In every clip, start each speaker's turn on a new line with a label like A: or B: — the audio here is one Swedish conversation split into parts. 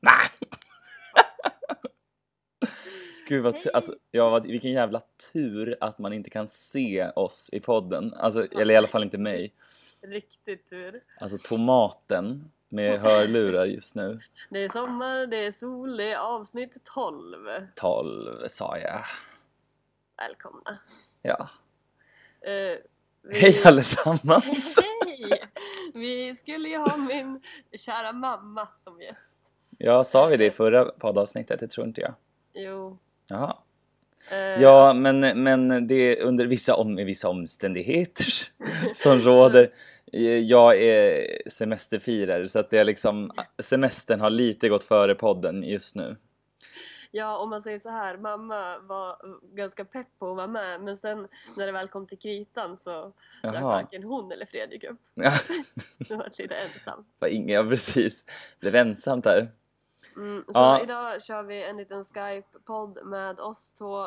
A: Gud vad, tu- alltså, ja, vad, vilken jävla tur att man inte kan se oss i podden. Alltså, eller i alla fall inte mig.
B: Riktigt tur.
A: Alltså tomaten med hörlurar just nu.
B: Det är sommar, det är sol, det är avsnitt 12.
A: 12 sa jag.
B: Välkomna.
A: Ja.
B: Eh, vi...
A: Hej allesammans!
B: Hej! Vi skulle ju ha min kära mamma som gäst.
A: Ja, sa vi det i förra poddavsnittet? Det tror inte jag.
B: Jo.
A: Jaha.
B: eh,
A: Ja, men, men det är under vissa, om, i vissa omständigheter som råder. Eh, Jag är semesterfirare så att det är liksom semestern har lite gått före podden just nu.
B: Ja, om man säger så här, mamma var ganska pepp på att vara med men sen när det väl kom till kritan så dök
A: Jaha.
B: varken hon eller Fredrik upp.
A: Ja,
B: Det var lite ensam.
A: var inga, ja, precis. Blev ensamt där.
B: Mm, så
A: Ja.
B: idag kör vi en liten Skype-podd med oss två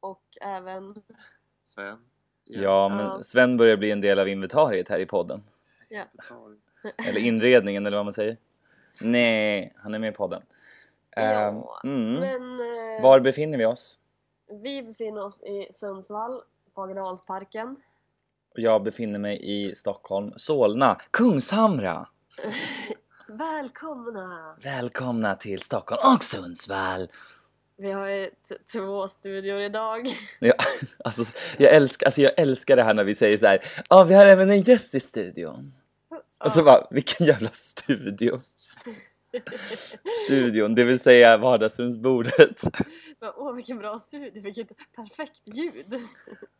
B: och även...
C: Sven.
A: Ja,
B: Ja.
A: men Sven börjar bli en del av inventariet här i podden.
C: betal.
A: Eller inredningen eller vad man säger. Nej, han är med i podden.
B: Ja,
A: Ehm, mm.
B: Men eh,
A: Var befinner vi oss?
B: vi befinner oss i Sundsvall, Fagerdalsparken.
A: Och Jag befinner mig i Stockholm, Solna, Kungshamra.
B: Välkomna!
A: Välkomna till Stockholm och Sundsvall!
B: Vi har ju t- två studior idag.
A: Ja, alltså, jag, älskar, alltså, jag älskar det här när vi säger så här. Ja, vi har även en gäst i studion. Och så
B: Ja.
A: bara, vilken jävla studio! Studion, det vill säga vardagsrumsbordet.
B: Men, Åh, vilken bra studie! Vilket perfekt ljud!
A: Alltså,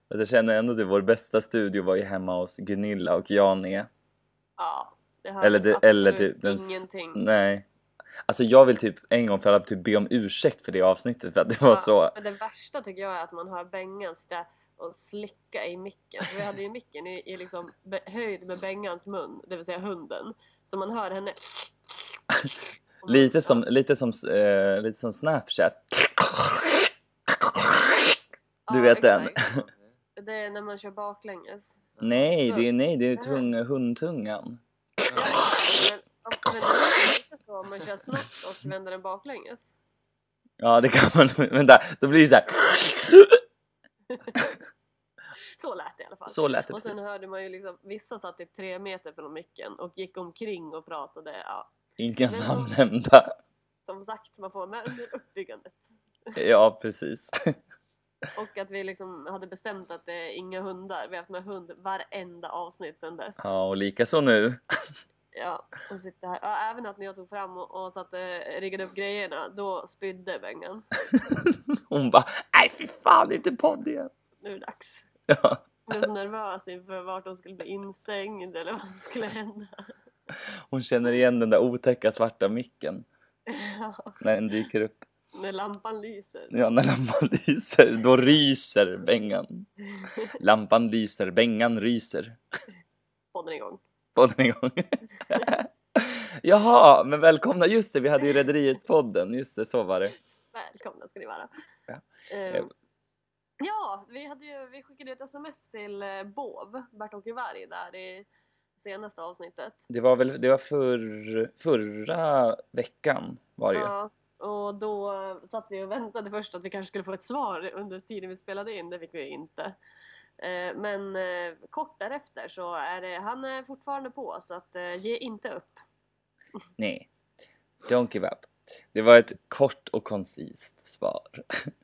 A: Jag känner ändå att vår bästa studio var ju hemma hos Gunilla och Jane.
B: Ja, det har
A: Eller, det, eller typ den... s-
B: ingenting.
A: Nej. Alltså jag vill typ en gång för alla typ be om ursäkt för det avsnittet för att det var
B: Ja,
A: så...
B: Men det värsta tycker jag är att man hör Bengan sitta och slicka i micken. För vi hade ju micken i, i liksom be- höjd med Bengans mun, det vill säga hunden. Så man hör henne... Och man-
A: Lite som, lite som, eh, lite som Snapchat.
B: Ja,
A: du vet den.
B: exakt. Det är när man kör baklänges.
A: Nej,
B: Alltså, Så-
A: det är, nej, det är tunga, hundtungan.
B: Men, men det är lite så om man kör snabbt och vänder den baklänges.
A: Ja, det kan man. Vänta, då blir det så här.
B: Så lät det i alla fall.
A: Så lät det
B: och sen
A: precis.
B: hörde man ju liksom, vissa satt typ tre meter från micken och gick omkring och pratade. Ja,
A: Inga
B: det är
A: namn
B: så-
A: nämnda.
B: som sagt, man får vara med under uppbyggandet.
A: Ja, precis.
B: Och att vi liksom hade bestämt att det är inga hundar. Vi har haft med hund varenda avsnitt sedan dess. Ja.
A: Ja, och lika så nu.
B: och sitta här. Ja, även att när jag tog fram och, och satte, riggade upp grejerna, då spydde Bengan.
A: Hon bara, nej fy fan, inte podd igen.
B: Nu är det dags.
A: Ja.
B: Hon blev så nervös inför vart hon skulle bli instängd eller vad som skulle hända.
A: Hon känner igen den där otäcka svarta micken
B: Ja,
A: när den dyker upp.
B: när lampan lyser.
A: Ja, när lampan lyser, då ryser Bengan. Lampan lyser, Bengan ryser.
B: Podden igång.
A: Podden igång. Jaha, men välkomna. Just det, vi hade ju Rederiet-podden. Just det, så var det.
B: Välkomna ska ni vara.
A: Ja. Eh.
B: Ehm, ja, vi, hade ju, vi skickade ett sms till eh, Båv, Bert-Åke Varg, där i senaste avsnittet.
A: Det var väl det var förr, förra veckan var det ju.
B: Ja, och då satt vi och väntade först att vi kanske skulle få ett svar under tiden vi spelade in. Det fick vi ju inte. Eh, Men eh, kort därefter så är det, han är fortfarande på så att eh, ge inte upp.
A: Nej. Don't give up. Det var ett kort och koncist svar.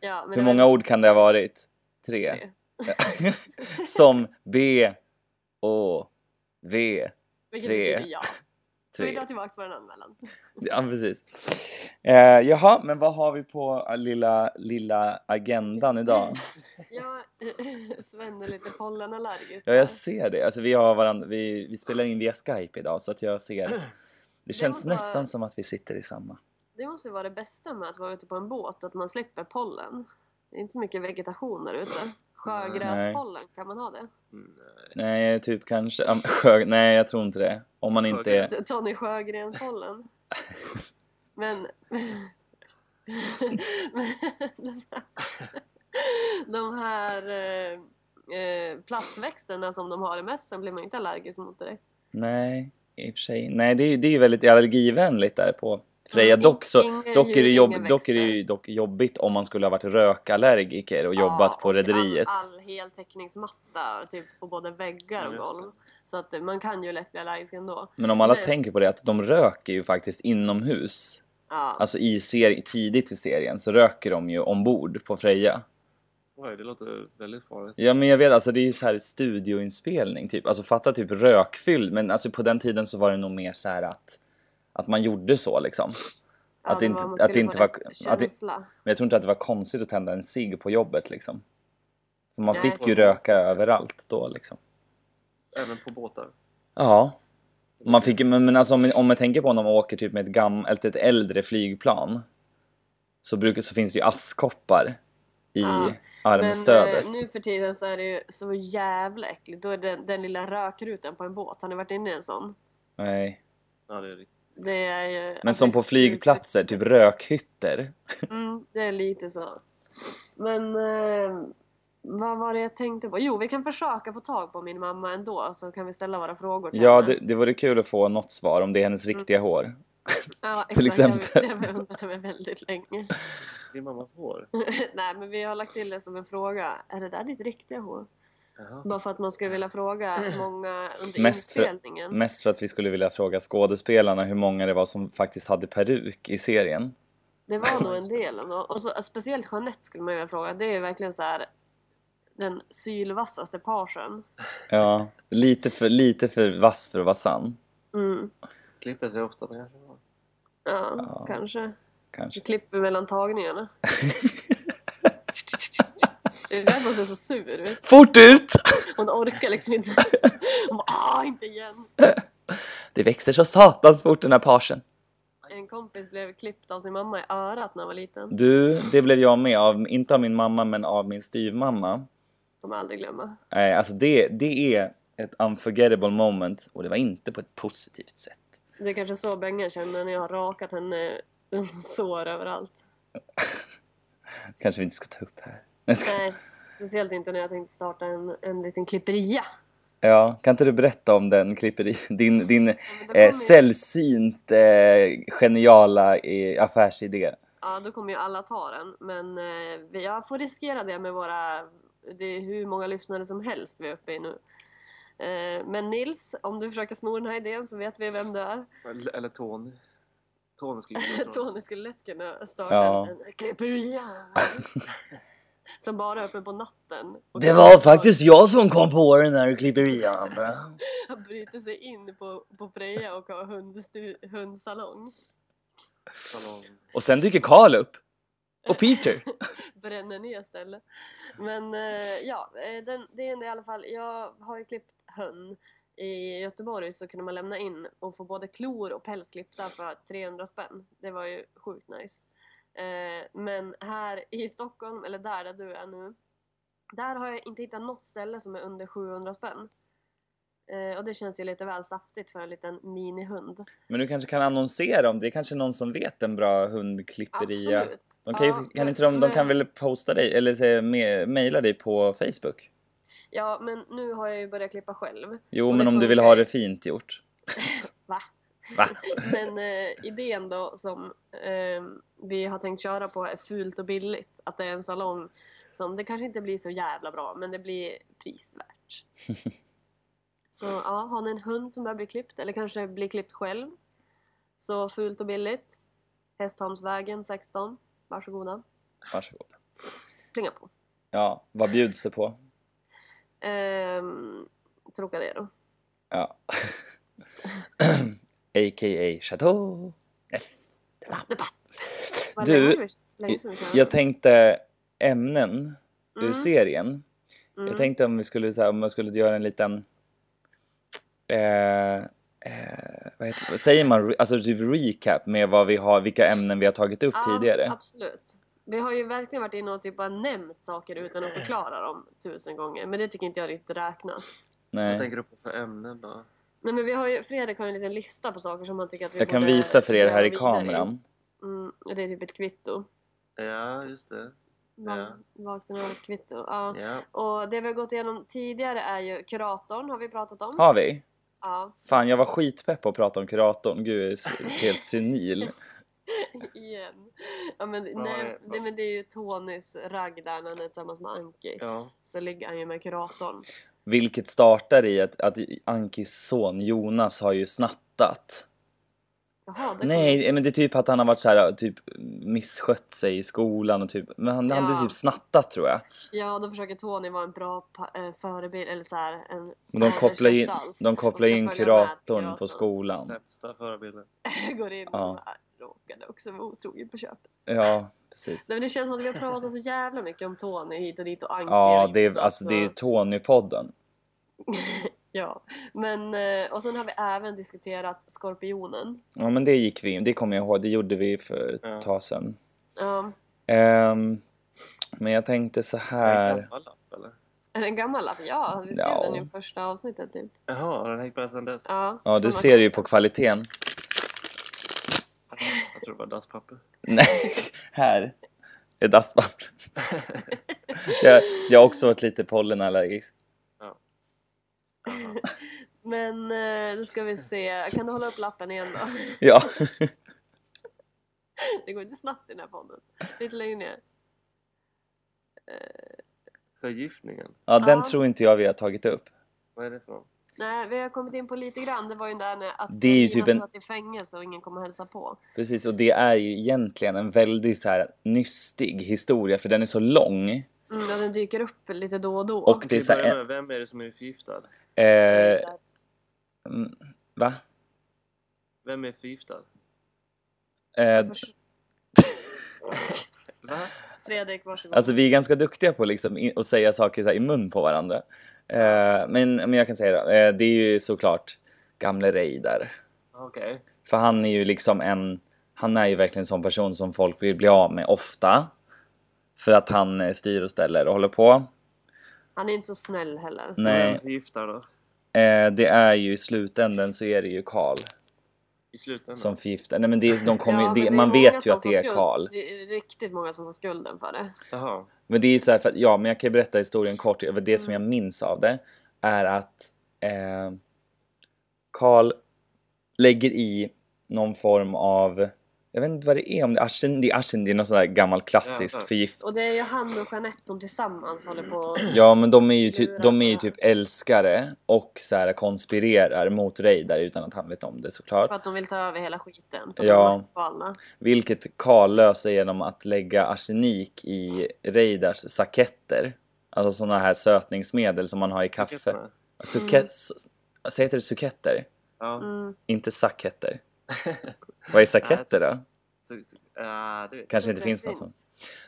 B: Ja, men
A: Hur
B: det
A: många ord kan det ha varit? Tre.
B: Tre.
A: Som B, Å, V,
B: Vilket
A: Tre.
B: betyder ja. Så vi
A: tre.
B: drar tillbaka vår anmälan.
A: Ja, precis. Eh, jaha, men vad har vi på eh, lilla, lilla agendan idag?
B: Ja, Sven är lite pollenallergisk.
A: Ja, jag ser det. Alltså, vi, har varandra, vi, vi spelar in via Skype idag så att jag ser. Det känns
B: måste vara-
A: nästan som att vi sitter i samma.
B: Det måste ju vara det bästa med att vara ute på en båt, att man slipper pollen. Det är inte så mycket vegetation där ute. Sjögräspollen, kan man ha det?
C: Mm.
A: Nej, typ kanske. ja, men Sjö... Nej, jag tror inte det. Om man inte är...
B: T- Tony Sjögren-pollen. Men... men de här, de här eh, eh, plastväxterna som de har i mässen blir man ju inte allergisk mot direkt.
A: Nej, i och för sig. Nej, det är ju det är ju väldigt allergivänligt där på Freja.
B: Mm,
A: Dock, så,
B: ingen
A: dock, är
B: djur,
A: det jobb,
B: inga
A: dock är det
B: växter.
A: ju dock jobbigt om man skulle ha varit rökallergiker och jobbat
B: Ja,
A: på
B: och
A: rederiet.
B: All, all heltäckningsmatta typ på både väggar och
C: Ja, just det.
B: golv. Så att eh, man kan ju lätt bli allergisk ändå.
A: Men om alla
B: Nej.
A: tänker på det att de röker ju faktiskt inomhus.
B: Ja.
A: Alltså i seri- tidigt i serien så röker de ju ombord på Freja.
C: Oj, det låter väldigt farligt.
A: Ja men jag vet alltså det är ju så här studioinspelning typ. Alltså fatta typ rökfylld men alltså på den tiden så var det nog mer så här att att man gjorde så liksom.
B: ja,
A: att
B: det
A: inte-
B: var- man
A: att
B: skulle
A: inte
B: få
A: vara-
B: rätt
A: att det-
B: Känsla.
A: Men jag tror inte att det var konstigt att tända en cigg på jobbet liksom. För man
B: Nej.
A: fick ju röka överallt då liksom.
C: Även på båtar.
A: Ja. Man fick, ju- men, men alltså om, om man tänker på när man åker typ med ett, gam, eller ett äldre flygplan så, brukar, så finns det ju askkoppar i
B: Ja,
A: armstödet.
B: Men eh, nu för tiden så är det ju så jävla äckligt. Då är det den lilla rökrutan på en båt. Har ni varit inne i en sån?
A: Nej.
C: Ja, det är riktigt.
B: Det är ju...
A: Men
B: alltså,
A: som
B: det är
A: på flygplatser, typ rökhytter.
B: super- Mm, det är lite så. Men... Eh, vad var det jag tänkte på? Jo, vi kan försöka få tag på min mamma ändå så kan vi ställa våra frågor till
A: Ja, Mm.
B: henne.
A: det, det vore kul att få något svar om det är hennes riktiga hår.
B: Ja, exakt.
A: till
B: Det har
A: exempel.
B: vi- det har vi undrat över väldigt länge.
C: Din mammas hår?
B: Mm. Nej, men vi har lagt till det som en fråga. Är det där ditt riktiga hår?
C: Jaha.
B: Bara för att man skulle vilja fråga många under
A: Mest för-
B: inspelningen.
A: Mest för att vi skulle vilja fråga skådespelarna hur många det var som faktiskt hade peruk i serien.
B: Det var nog
A: Mm.
B: en del ändå. Och så, speciellt Jeanette skulle man ju vilja fråga. Det är ju verkligen så här den sylvassaste parsen.
A: Ja, lite för, lite för vass för att vara sann.
B: Mm.
C: Klipper sig ofta, men kanske var.
B: Ja,
A: Ja.
B: kanske.
A: Kanske.
B: Vi klipper mellan tagningarna. Det är därför hon ser så sur ut.
A: Fort ut!
B: Hon orkar liksom inte. Hon bara ah, inte igen.
A: Det växer så satans fort den här parsen.
B: En kompis blev klippt av sin mamma i örat när han var liten.
A: Du, det blev jag med av, inte av min mamma men av min styvmamma.
B: Kommer aldrig glömma.
A: Eh, alltså det, det är ett unforgettable moment och det var inte på ett positivt sätt.
B: Det är kanske så Bengan känner när jag har rakat henne eh, sår överallt.
A: Kanske vi inte ska ta upp här. Nej, ska-
B: Nej, speciellt inte när jag tänkte starta en, en liten klipperia.
A: Ja, kan inte du berätta om den klipperi, din, din
B: Ja, men då kommer
A: eh,
B: ju-
A: sällsynt eh, geniala eh, affärsidé?
B: Ja, då kommer ju alla ta den. Men eh, vi- jag får riskera det med våra... Det är hur många lyssnare som helst vi är uppe i nu. Eh, men Nils, om du försöker sno den här idén så vet vi vem du är.
C: Eller, eller Tony. Tony skulle jag tro.
B: Tony skulle lätt kunna starta
A: Ja.
B: en klipperia. som bara är öppen på natten. Och
A: Det var faktiskt jag som kom på den här klipperian.
B: Han bryter sig in på, på Freja och har hundstu, hundsalong.
C: Salong.
A: Och sen dyker Karl upp. Och Peter.
B: Bränner ner stället. Men eh, ja, eh, den, det är det i alla fall. Jag har ju klippt hön. I Göteborg så kunde man lämna in och få både klor och päls klippta för 300 spänn. Det var ju sjukt nice. Eh, men här i Stockholm, eller där, där du är nu, där har jag inte hittat något ställe som är under 700 spänn. Eh, och det känns ju lite väl saftigt för en liten minihund.
A: Men du kanske kan annonsera om det. är kanske någon som vet en bra hundklipperia.
B: Absolut.
A: De kan, ju,
B: Ja,
A: kan
B: men-
A: inte de, de
B: men-
A: kan väl posta dig eller säga, me, mejla dig på Facebook?
B: Ja, men nu har jag ju börjat klippa själv.
A: Jo,
B: Och det
A: men om du vill
B: funkar
A: ha
B: ju.
A: det fint gjort.
B: Va?
A: Va?
B: Men eh, idén då som eh, vi har tänkt köra på är fult och billigt. Att det är en salong som, det kanske inte blir så jävla bra, men det blir prisvärt. Så ja, har ni en hund som börjar bli klippt, eller kanske blir klippt själv, så fult och billigt. Hästholmsvägen 16. Varsågoda.
A: Varsågod.
B: Plinga på.
A: Ja, vad bjuds det på?
B: Ehm, Trocadero.
A: Ja. A.k.a. Chateau.
B: Vad
A: Du,
B: länge har vi- länge sedan vi körde.
A: Jag tänkte ämnen ur
B: Mm,
A: serien.
B: mm.
A: Jag tänkte om vi skulle, så här, om jag skulle göra en liten... Eh, eh, vad heter det? Säger man re- alltså typ recap med vad vi har, vilka ämnen vi har tagit upp tidigare?
B: absolut. Vi har ju verkligen varit inne och typ bara nämnt saker utan att förklara dem tusen gånger. Men det tycker inte jag riktigt räknas.
C: Vad
A: Nej.
C: tänker du på för ämnen då?
B: Nej men vi har ju, Fredrik har ju en liten lista på saker som han tycker att vi
A: Jag kan
B: borde
A: visa för er här i
B: gräva vidare
A: kameran.
B: Mm, och det är typ ett kvitto.
C: Ja, just det.
B: Ja.
C: Ja.
B: Vaksen har ett kvitto. Ja.
C: Ja.
B: Och det vi har gått igenom tidigare är ju kuratorn har vi pratat om.
A: Har vi?
B: Ja.
A: Fan, jag var skitpepp på att prata om kuratorn. Gud, jag är s- helt senil.
B: Igen. Ja, men,
C: Ja,
B: nej,
C: det-
B: nej, men det är ju Tonys ragg där när han är tillsammans med Anki.
C: Ja.
B: Så ligger han ju med kuratorn.
A: Vilket startar i att, att Ankis son Jonas har ju snattat.
B: Jaha, det
A: Nej, men det är typ att han har varit så här, typ misskött sig i skolan och typ, men han hade
B: Ja.
A: typ snattat tror jag.
B: Ja, då försöker Tony vara en bra pa- eh, förebild, eller så här, en
A: Men de kopplar in,
B: föräldragestalt.
A: de kopplar
B: ska
A: in
B: följa med
A: kuratorn
B: kuratorn.
A: på skolan.
C: Sämsta förebilden.
B: Går in och
A: Ja.
B: så bara, "Äh, råkade också vara otrogen på köpet.
A: Ja, precis.
B: Nej, men det känns som att vi har pratat så jävla mycket om Tony hit och dit och Anki
A: Ja,
B: och
A: det är,
B: Jonas
A: alltså det är
B: och-
A: Tony-podden.
B: Ja, men eh, och sen har vi även diskuterat Skorpionen.
A: Ja, men det gick vi in, det kommer jag ihåg, det gjorde vi för
C: Ja.
A: ett tag sedan.
B: Ja,
A: Ehm, men jag tänkte så
C: Är det en
A: här,
C: gammal lapp eller?
B: är det en gammal lapp? Ja, vi skrev
A: Ja.
B: den i första avsnittet typ.
C: Jaha, den hängt med sedan dess?
B: Ja,
A: ja
B: de
A: du
B: har-
A: ser ju på kvaliteten.
C: Jag tror det var dasspapper.
A: Nej, här är dasspapper. jag, jag har också varit lite pollenallergisk.
C: Jaha.
B: Men eh, då ska vi se, kan du hålla upp lappen igen då?
A: Ja,
B: Det går inte snabbt i den här podden. Lite längre ner.
C: Förgiftningen?
A: ja den
B: Ja.
A: tror inte jag vi har tagit upp.
C: Vad är det för något?
B: Nej, vi har kommit in på lite grann. Det var ju där när att
A: Det är ju
B: Jonas
A: typ en-
B: satt i fängelse och ingen kom och hälsade på.
A: Precis, och det är ju egentligen en väldigt så här nystig historia för den är så lång.
B: Mm, och den dyker upp lite då och då.
A: Och det är
C: Vi
A: så här,
C: börjar med, vem är det som är förgiftad?
A: eh, mm, va?
C: Vem är förgiftad?
A: Eh,
C: Va?
B: Fredrik, varsågod.
A: alltså vi är ganska duktiga på liksom i- att säga saker så här, i mun på varandra. Eh, men, men jag kan säga det, eh, det är ju såklart gamle Reidar.
C: Okej.
A: För han är ju liksom en, han är ju verkligen en sån person som folk vill bli av med ofta. För att han eh, styr och ställer och håller på.
B: Han är inte så snäll heller.
A: Nej,
C: Vem förgiftar då?
B: Mm.
A: eh, det är ju i slutänden så är det ju Karl
C: I slutändan?
A: som förgiftar. Nej men det, de kommer,
B: Ja, men
A: ju-
B: det
A: det,
B: är
A: man
B: många
A: vet ju
B: som
A: att det
B: får
A: är
B: skuld.
A: Karl.
B: Det är riktigt många som får skulden för det.
C: Jaha.
A: Men det är ju så här för att, ja men jag kan ju berätta historien kort. Det som
B: Mm.
A: jag minns av det är att eh, Karl lägger i någon form av, jag vet inte vad det är, om det är arsen, det är, arsen, det är någon sån där gammal klassisk
C: Ja.
A: förgift
B: Och det är ju han och Jeanette som tillsammans håller på och...
A: Ja men de är ju, ty-
B: Lurar
A: de är ju
B: på det
A: typ älskare och så här konspirerar mot Reidar utan att han vet om det såklart.
B: För att de vill ta över hela skiten. För att
A: Ja.
B: de är på alla.
A: Vilket Karl löser genom att lägga arsenik i Reidars saketter. Alltså sådana här sötningsmedel som man har i kaffe.
C: Suketterna.
A: Suket... Så heter det suketter?
C: Ja.
B: Mm.
A: Inte saketter. Vad är saketter då?
C: Så, så, ja, det äh, vet jag.
A: Kanske inte
B: tror jag
A: finns någon sån.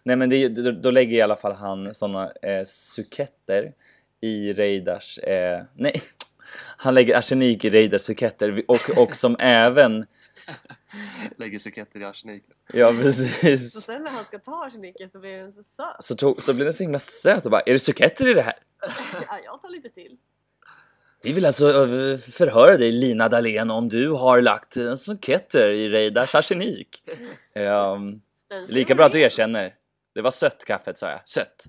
A: Nej men det, är ju- då, då lägger i alla fall han såna eh, suketter i Reidars... Eh, nej! Han lägger arsenik i Reidars suketter och, och som även...
C: Lägger suketter i arsenik.
A: Ja
B: Så
A: precis.
B: sen när han ska ta arsenik så blir den så söt.
A: Så, tog, så blev den så himla söt och bara Är det suketter i det här?
B: Ja, jag tar lite till.
A: Vi vill alltså eh, förhöra dig Lina Dahlén om du har lagt eh, suketter i Reidars arsenik. Ehm,
B: Den ska
A: lika
B: vara
A: bra att du
B: ren.
A: erkänner. Det var sött kaffet sa jag. Sött.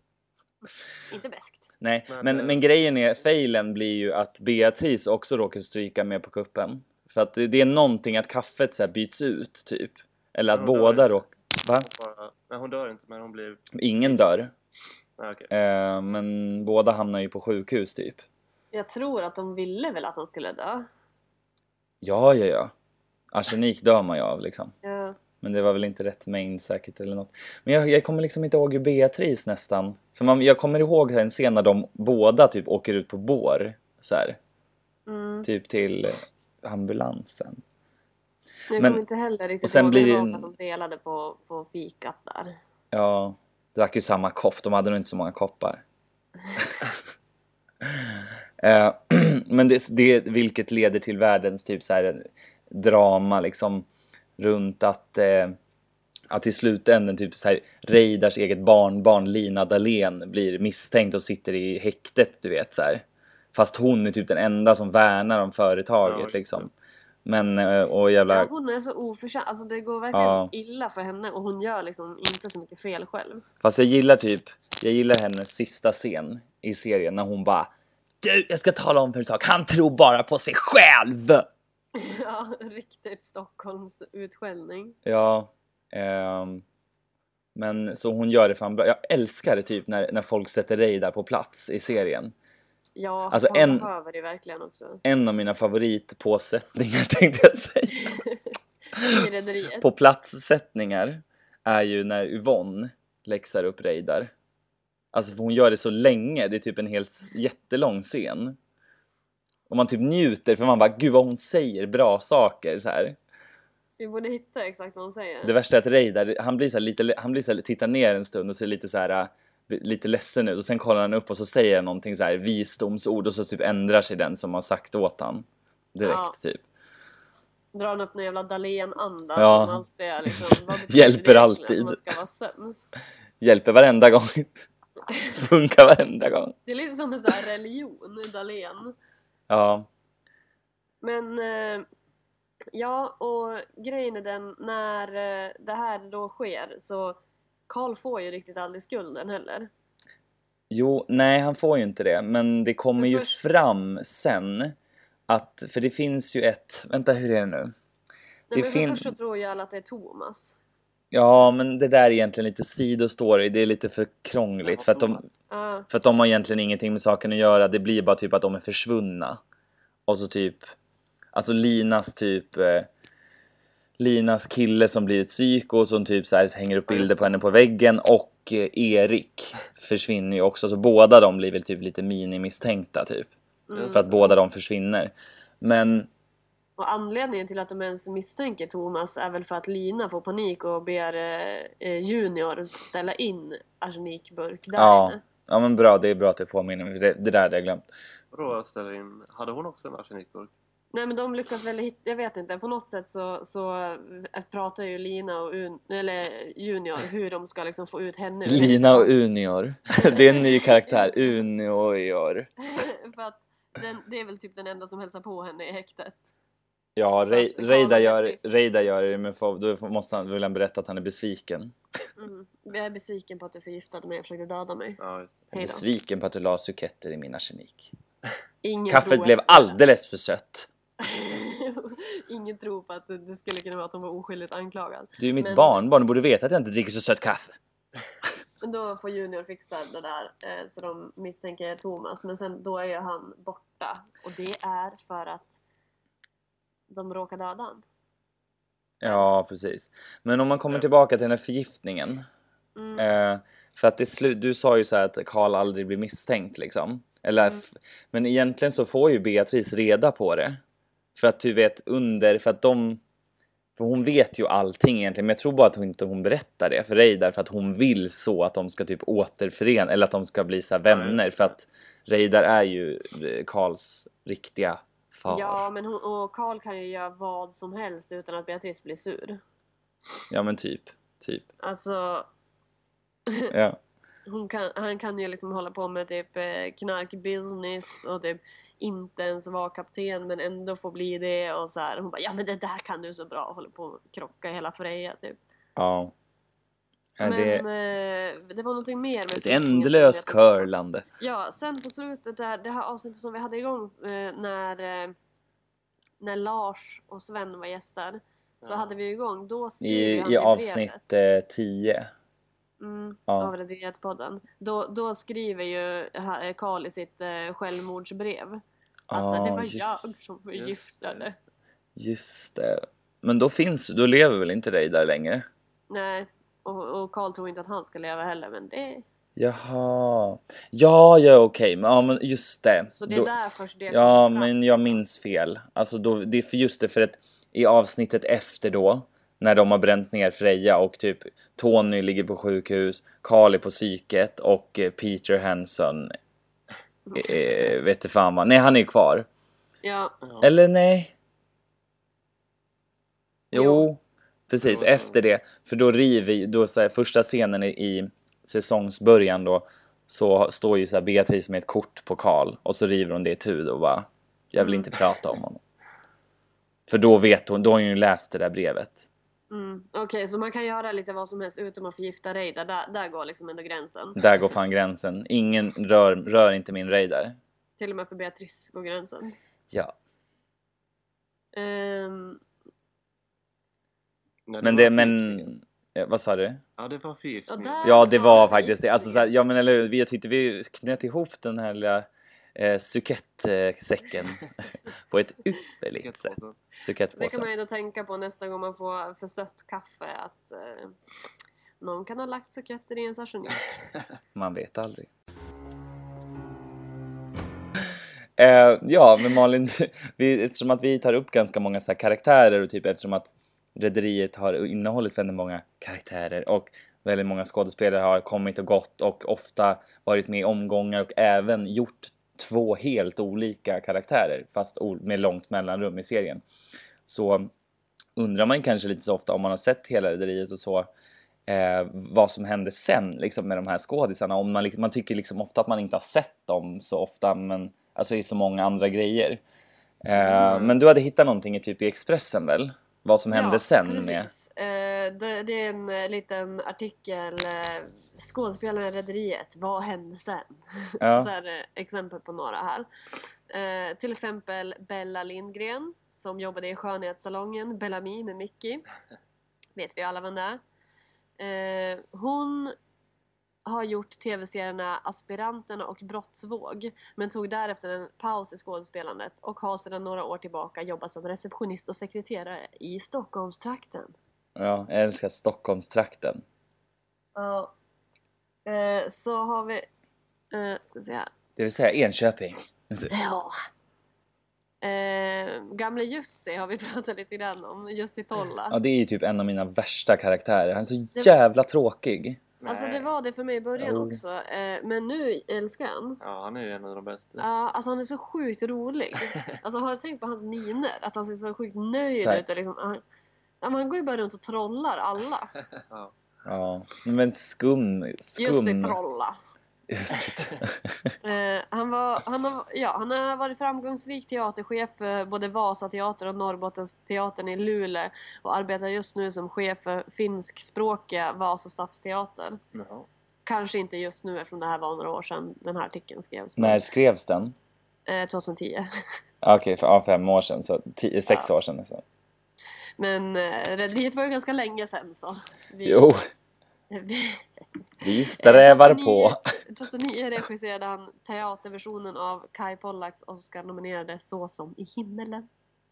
B: Inte bäst.
A: Nej,
C: Men,
A: men,
C: eh,
A: men grejen är, failen blir ju att Beatrice också råkar stryka med på kuppen. För att det, det är någonting att kaffet så här byts ut, typ. Eller att
C: Ja, det
A: båda
C: är det.
A: råkar... Va?
C: Bara, nej, hon dör inte men hon blir...
A: Ingen dör.
C: Nej, okej.
A: Eh, men båda hamnar ju på sjukhus, typ.
B: Jag tror att de ville väl att han skulle dö.
A: Ja, ja, ja. Arsenik dör man ju av, liksom.
B: Ja.
A: Men det var väl inte rätt mängd säkert eller något. Men jag, jag kommer liksom inte ihåg hur Beatrice nästan... För man, jag kommer ihåg en scen när de båda typ åker ut på bår. Så här,
B: Mm.
A: typ till ambulansen.
B: Jag
A: Men-
B: kommer inte heller riktigt
A: och sen
B: ihåg
A: blir det
B: ihåg
A: en-
B: att de delade på, på fikat där.
A: Ja, drack ju samma kopp. De hade nog inte så många koppar. Eh, Men det, det, vilket leder till världens typ så här drama liksom runt att, eh, att i slutänden typ så här Reidars eget barnbarn Lina Dahlén blir misstänkt och sitter i häktet, du vet så här. Fast hon är typ den enda som värnar om företaget
C: Ja, just det.
A: liksom. Men, eh, och jävla...
B: Ja, hon är så oförtjänt. Alltså det går verkligen
A: Ja.
B: illa för henne och hon gör liksom inte så mycket fel själv.
A: Fast jag gillar typ, jag gillar hennes sista scen i serien när hon bara Du, jag ska tala om för en sak, han tror bara på sig själv!
B: Ja, riktigt Stockholms utskällning.
A: Ja, Ehm, men så hon gör det fan bra. Jag älskar det typ när, när folk sätter Reidar på plats i serien.
B: Ja,
A: Alltså,
B: han
A: en-
B: behöver det verkligen också.
A: En av mina favoritpåsättningar tänkte jag säga.
B: I Rederiet.
A: På platssättningar är ju när Yvonne läxar upp Reidar. Alltså för hon gör det så länge, det är typ en helt s- jättelång scen. Och man typ njuter för man bara gud vad hon säger bra saker så här.
B: Vi borde hitta exakt vad hon säger.
A: Det värsta är att Reidar, han blir så här lite, han blir så här, tittar ner en stund och ser lite så här äh, lite ledsen ut och sen kollar han upp och så säger han någonting så här visdomsord och så typ ändrar sig den som har sagt åt han direkt
B: Ja.
A: typ.
B: Drar han upp någon jävla Dahlén-anda
A: Ja.
B: som alltid är liksom... vad betyder
A: Hjälper
B: det egentligen
A: alltid.
B: om Man ska vara sämst.
A: Hjälper varenda gång. Funkar varenda gång.
B: Det är lite som en sån här religion, Dahlén.
A: Ja,
B: Men eh, ja, och grejen är den när eh, det här då sker så Karl får ju riktigt aldrig skulden heller.
A: jo, nej han får ju inte det men det kommer
B: För
A: ju
B: först-
A: fram sen att, för det finns ju ett, vänta hur är det nu? Det
B: Nej, men
A: fin-
B: för först så tror ju alla att det är Thomas.
A: Ja, men det där är egentligen lite sidostory, det är lite för krångligt för att de,
C: Thomas.
B: Ja,
A: För att de har egentligen ingenting med saken att göra, det blir bara typ att de är försvunna. Och så typ, alltså Linas typ, eh, Linas kille som blir ett psyko som typ så här hänger upp
C: Ja, just
A: bilder
C: det.
A: på henne på väggen och eh, Erik försvinner ju också, så båda de blir väl typ lite minimisstänkta typ.
B: mm.
A: För att båda de försvinner. Men
B: Och anledningen till att de ens misstänker Thomas är väl för att Lina får panik och ber eh, eh, Junior ställa in arsenikburk där
A: ja,
B: inne.
A: ja men bra, det är bra att du påminner mig, för det, det där hade jag glömt.
C: Vadå ställer in? Hade hon också en arsenikburk?
B: Nej men de lyckas väl hitta, jag vet inte, på något sätt så, så eh, pratar ju Lina och Un, eller eh, Junior hur de ska liksom få ut henne ur
A: Lina och Unior, det är en ny karaktär, Unior.
B: För att den, det är väl typ den enda som hälsar på henne i häktet.
A: Ja,
B: Så
A: Rei-
B: att Karl
A: Reidar
B: är
A: gör,
B: rättvis.
A: Reidar gör det, men får- då får- måste han, vill han berätta att han är besviken.
B: Mm. Jag är besviken på att du förgiftade mig och försökte döda mig.
C: Ja, just det.
A: Jag är
B: Hej då.
A: besviken på att du la suketter i min arsenik.
B: Ingen
A: Kaffet
B: tror-
A: blev alldeles för sött.
B: Ingen tror på att det- det skulle kunna vara att hon var oskyldigt anklagad.
A: Du är ju mitt
B: Men-
A: barnbarn, du borde veta att jag inte dricker så sött kaffe.
B: Men då får Junior fixa det där eh, så de misstänker Thomas. Men sen då är ju han borta. Och det är för att de råkar döda han.
A: Ja, precis. Men om man kommer
C: Ja.
A: tillbaka till den här förgiftningen.
B: Mm.
A: Eh, för att det slut, du sa ju så här att Karl aldrig blir misstänkt liksom. Eller,
B: Mm.
A: f- men egentligen så får ju Beatrice reda på det. För att du vet under, för att de, för hon vet ju allting egentligen. Men jag tror bara att hon inte hon berättar det för Reidar för att hon vill så att de ska typ återförena eller att de ska bli så här
C: Ja,
A: vänner.
C: just
A: För
C: det.
A: att Reidar är ju eh, Karls riktiga far.
B: Ja, men hon, och Karl kan ju göra vad som helst utan att Beatrice blir sur.
A: ja men typ, typ.
B: Alltså,
A: Ja.
B: Hon kan, han kan ju liksom hålla på med typ eh, knarkbusiness och typ inte ens vara kapten men ändå få bli det och så här. Hon bara ja men det där kan du så bra och håller på att krocka hela Freja typ.
A: ja. Ja,
B: Men
A: det är
B: eh, det var någonting mer med
A: ett
B: flyttningen som
A: ändlöst
B: jag tänkte på.
A: körlande.
B: Ja, sen på slutet där, det här avsnittet som vi hade igång eh, när, eh, när Lars och Sven var gäster så
C: Ja.
B: hade vi ju igång, då skrev
A: I,
B: ju han
A: i
B: det brevet.
A: avsnitt eh, 10.
B: Mm,
A: Ja.
B: av Rederiet-podden. Då, då skriver ju ha- Karl i sitt eh, självmordsbrev att så här, alltså, det
A: Ah,
B: var jag
A: just,
B: som
C: Just det,
B: förgiftade.
C: just det.
A: just det. Men då finns, då lever väl inte Reidar längre?
B: Nej, och, och Karl tror inte att han ska leva heller men det...
A: Jaha. Ja, ja okej. Men, ja, men just det.
B: Så det är
A: Då-
B: därför det
A: ja,
B: kommer fram,
A: men jag
B: liksom.
A: minns fel. Alltså då, det är för just det för att i avsnittet efter då när de har bränt ner Freja och typ Tony ligger på sjukhus, Carl är på psyket och eh, Peter Hanson eh, vet du fan vad. Nej, han är ju kvar.
B: Ja,
C: Ja.
A: Eller nej? Jo,
B: Jo.
A: precis.
C: Jo, jo.
A: Efter det. För då river ju- då så här, första scenen i, i säsongsbörjan då så står ju så här Beatrice med ett kort på Karl och så river hon det i tu och bara jag vill
B: Mm.
A: inte prata om honom. För då vet hon, då har hon ju läst det där brevet.
B: mm. okej så man kan göra lite vad som helst utom att förgifta Reidar, där, där går liksom ändå gränsen.
A: Där går fan gränsen. Ingen rör, rör inte min Reidar.
B: Till och med för Beatrice går gränsen.
A: Ja.
B: Ehm,
C: Nej,
A: Men
C: var
A: det,
C: förgiftningen.
A: men Eh, vad sa du?
C: Ja, det var förgiftning.
B: Och där-
A: Ja, det var
B: Varför
A: faktiskt det.
B: gick
A: Alltså,
B: det?
A: så här, ja, men eller hur? Vi- Jag tyckte vi knöt ihop den här lilla eh, sukettsäcken på ett ypperligt sätt.
B: Så det
C: Skatepåsen.
B: kan man
A: Sukettpåsen.
B: ju då tänka på nästa gång man får för sött kaffe att eh, någon kan ha lagt suketter i en sashimi.
A: Man vet aldrig. Eh, ja, men Malin, vi, eftersom att vi tar upp ganska många så här karaktärer och typ eftersom att Rederiet har innehållit väldigt många karaktärer och väldigt många skådespelare har kommit och gått och ofta varit med i omgångar och även gjort två helt olika karaktärer fast o- med långt mellanrum i serien. Så undrar man kanske lite så ofta om man har sett hela Rederiet och så eh, vad som hände sen liksom, med de här skådisarna. Om man, liksom- man tycker liksom ofta att man inte har sett dem så ofta, men alltså i så många andra grejer. Eh,
C: Mm.
A: Men du hade hittat någonting i typ i Expressen väl? Vad som hände sen med...
B: precis. Eh, det, det är en eh, liten artikel. Eh, Skådespelaren i Rederiet, vad hände sen? Så
A: Ja,
B: här, eh, exempel på några här. Eh, till exempel Bella Lindgren som jobbade i skönhetssalongen Bellamy med Mickey. Vet vi alla vem det är. Eh, hon har gjort tv-serierna Aspiranterna och Brottsvåg men tog därefter en paus i skådespelandet och har sedan några år tillbaka jobbat som receptionist och sekreterare i Stockholmstrakten.
A: ja, jag älskar Stockholmstrakten.
B: Ja. Eh, så har vi... Eh, ska vi se här.
A: Det vill säga Enköping.
B: Ja. Eh, gamle Jussi har vi pratat lite grann om. Jussi Tolla.
A: Ja, det är ju typ en av mina värsta karaktärer. Han är så
B: Det-
A: jävla tråkig.
B: Alltså det
C: Nej.
B: var det för mig i början
A: Jo.
B: också. Eh, men nu älskar jag han.
C: Ja, han är ju en av de bästa.
B: Ja, alltså han är så sjukt rolig. Alltså har du tänkt på hans miner? Att han ser så sjukt nöjd
A: Så här.
B: ut och liksom... ah. Ja, men han går ju bara runt och trollar alla.
C: Ja.
A: Ja, men skum. skum.
B: Jussi Trolla.
A: Just det.
B: Eh, han, var, han, har, ja, han har varit framgångsrik teaterchef för både Vasateatern och Norrbottensteatern i Luleå och arbetar just nu som chef för finskspråkiga Vasa stadsteater.
C: Jaha.
B: Kanske inte just nu eftersom det här var några år sedan den här artikeln skrevs. men,
A: När skrevs den?
B: Eh, 2010.
A: Ja, Okej, för ja, fem år sedan. Så tio, sex
B: Ja.
A: år sedan nästan.
B: Men eh, Rederiet var ju ganska länge sedan så. Vi, Eh,
A: Jo,
B: vi,
A: vi strävar på.
B: alltså, 2009 regisserade han teaterversionen av Kai Pollaks Oscar-nominerade Så som i himmelen.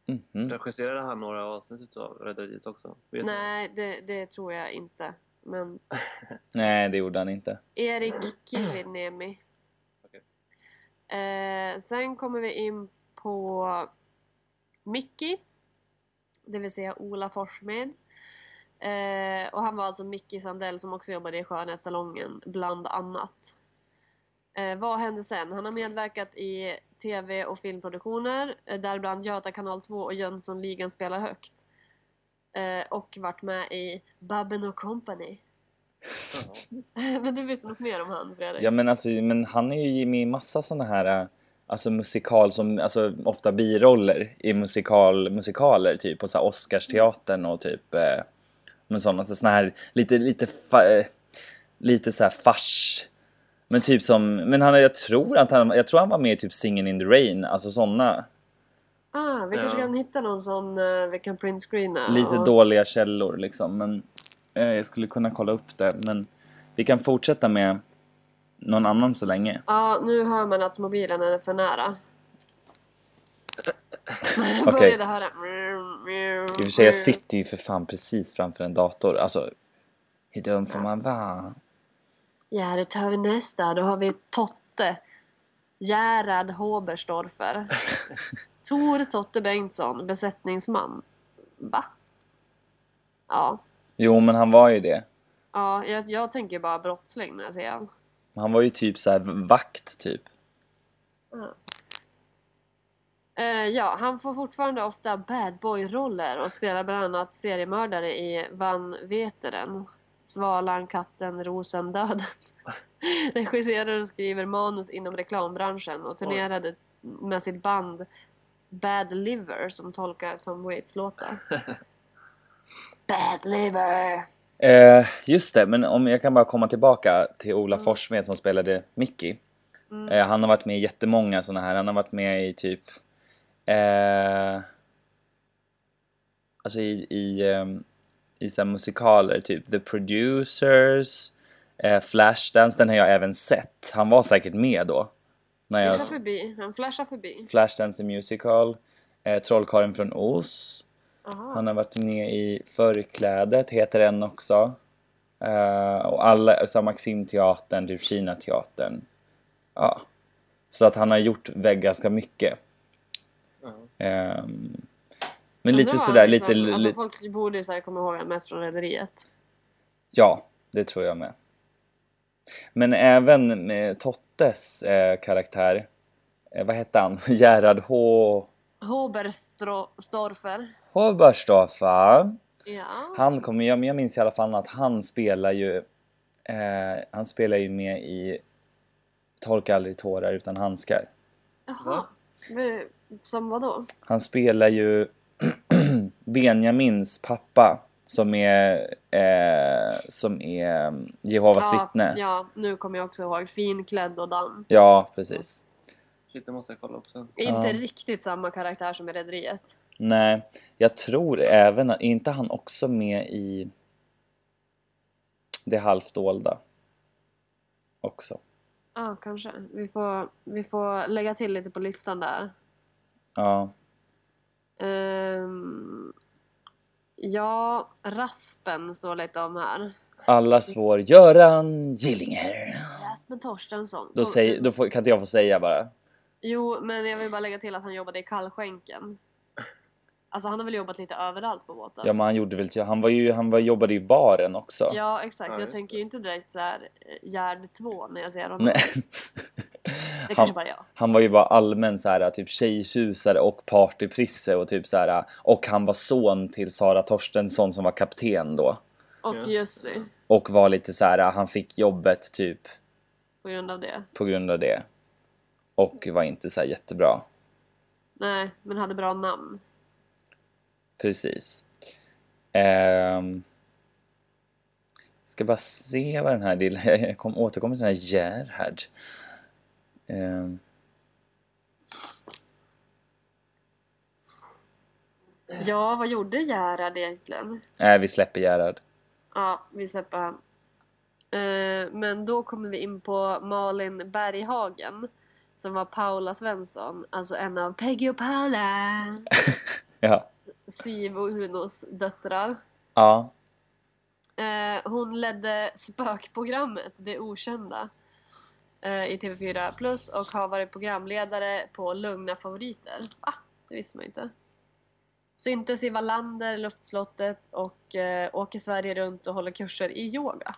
A: Mhm.
C: Regisserade han några avsnitt utav Rederiet också? Vet ni?
B: Nej, det, det tror jag inte. Men
A: Nej, det gjorde han inte.
B: Erik Kiviniemi.
C: Okej.
B: Eh, sen kommer vi in på Mickey. Det vill säga Ola Forssmed. Eh, och han var alltså Mickey Sandell som också jobbade i skönhetssalongen bland annat. Eh, vad hände sen? Han har medverkat i tv och filmproduktioner, eh, däribland Göta kanal 2 och Jönssonligan spelar högt. Eh, och varit med i Babben och Company.
C: Jaha.
B: Men du visste något mer om han Fredrik?
A: Ja, men, alltså, men han är ju med i massa sådana här äh, alltså, musikal som alltså, ofta biroller i musikal, musikaler typ på så här Oscarsteatern och typ eh, men sådana så, såna här lite lite fa, eh, lite så här fars men typ som men han jag tror att han jag tror han var med i typ Singin' in the Rain alltså sådana
B: Ah, vi kanske
C: Ja.
B: kan hitta någon sån eh, vi kan printscreena.
A: lite
B: och-
A: dåliga källor liksom men eh, jag skulle kunna kolla upp det men vi kan fortsätta med någon annan så länge.
B: Ja, nu hör man att mobilen är för nära.
A: Okej.
B: Jag började höra.
A: I och för sig,
B: Mm.
A: jag sitter ju för fan precis framför en dator. Alltså, hur dum får man vara?
B: Ja, det tar vi nästa. Då har vi Totte. Gerhard Hoberstorfer. Tor Totte Bengtsson, besättningsman. Va? Ja.
A: Jo, men han var ju det.
B: Ja, jag, jag tänker bara brottsling när jag ser honom.
A: Han var ju typ så här vakt, typ.
B: Eh, ja, han får fortfarande ofta bad boy-roller och spelar bland annat seriemördare i Vanveteren, Svalan, Katten, Rosen, Döden. Regisserar och skriver manus inom reklambranschen och turnerade med sitt band Bad Liver som tolkar Tom Waits låtar. Bad Liver!
A: Eh, just det, men om jag kan bara komma tillbaka till Ola
B: Mm.
A: Forssmed som spelade Mickey.
B: Mm.
A: Eh, han har varit med i jättemånga såna här. Han har varit med i typ... Eh, alltså i... i ehm, i så här musikaler, typ The Producers, eh, Flashdance, den har jag även sett. Han var säkert med då. När jag
B: Flashar förbi. Han flashar förbi.
A: Flashdance the Musical, eh, Trollkarlen från Oz.
B: Aha.
A: Han har varit med i Förklädet, heter en också. Eh, och alla, så här Maximteatern, typ Kinateatern. Ja. Så att han har gjort väg ganska mycket.
C: Ja.
A: Ehm, men
B: Undrar
A: lite
B: vad han
A: sådär,
B: liksom,
A: lite, li,
B: Alltså folk borde ju så här komma ihåg honom mest från Rederiet.
A: Ja, det tror jag med. Men även med Tottes eh, karaktär, eh, vad hette han? Gerhard H.
B: Hoberstorfer.
A: Hoberstoffer.
B: Ja.
A: Han kommer, jag, jag minns i alla fall att han spelar ju, eh, han spelar ju med i Torka aldrig tårar utan handskar.
B: Jaha.
C: Va?
B: Men, Som vadå?
A: Han spelar ju Benjamins pappa som är, eh, som är Jehovas vittne. Ja.
B: ja, nu kommer jag också ihåg. Finklädd och damm.
A: precis.
C: Shit, det måste jag kolla upp sen.
B: Inte
A: Ja.
B: riktigt samma karaktär som i Rederiet.
A: Nej, jag tror även att, är inte han också med i Det halvt dolda? Också.
B: Ja, kanske. Vi får, vi får lägga till lite på listan där.
A: Ja.
B: Ehm, ja, Raspen står lite om här.
A: Allas vår Göran Gillinger.
B: Raspen Torstensson.
A: Då, säger, då får, kan inte jag få säga bara.
B: Jo, men jag vill bara lägga till att han jobbade i kallskänken. Alltså han har väl jobbat lite överallt på båten?
A: Ja men han gjorde väl, typ- han var ju, han var, jobbade i baren också.
B: Ja, exakt.
C: Ja,
B: jag
C: just
B: tänker
C: det.
B: ju inte direkt så här eh, Gerd 2 när jag ser honom.
A: Nej.
B: Det kanske
A: Han,
B: bara jag.
A: han var ju bara allmän så här typ tjejtjusare och partyprisse och typ så här och han var son till Sara Torstensson som var kapten då
B: Och
C: Just
B: Jussi
C: det.
A: och var lite så här han fick jobbet typ
B: på grund av det.
A: på grund av det. Och var inte så här jättebra.
B: Nej, men hade bra namn.
A: Precis. Ehm. Ska bara se vad den här lilla... Jag kom, återkommer till den här Gerhard. Ehm.
B: Ja, vad gjorde Gerhard egentligen?
A: Nej, vi släpper Gerhard.
B: Ja, vi släpper han. Eh, Men då kommer vi in på Malin Berghagen som var Paula Svensson, alltså en av Peggy och Paula,
A: Ja.
B: Siv och Hunos döttrar.
A: Ja.
B: Eh, Hon ledde spökprogrammet Det Okända eh, i TV4 Plus och har varit programledare på Lugna Favoriter. Va? Det visste man ju inte. Syntes i Wallander, Luftslottet och eh, åker Sverige runt och håller kurser i yoga.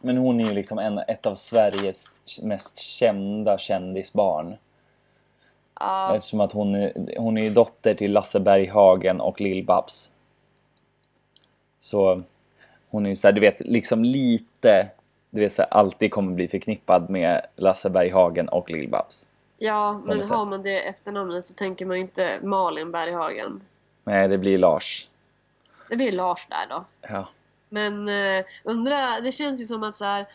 A: Men hon är ju liksom en, ett av Sveriges mest kända kändisbarn.
B: Ja,
A: Eftersom att hon är, hon är ju dotter till Lasse Berghagen och Lill-Babs. Så hon är ju såhär, du vet, liksom lite, du vet såhär, alltid kommer bli förknippad med Lasse Berghagen och Lill-Babs.
B: ja men
A: något
B: har
A: sätt.
B: man det efternamnet så tänker man ju inte Malin Berghagen.
A: Nej, det blir Lars.
B: Det blir Lars där då.
A: Ja.
B: Men eh, undra, det känns ju som att så här,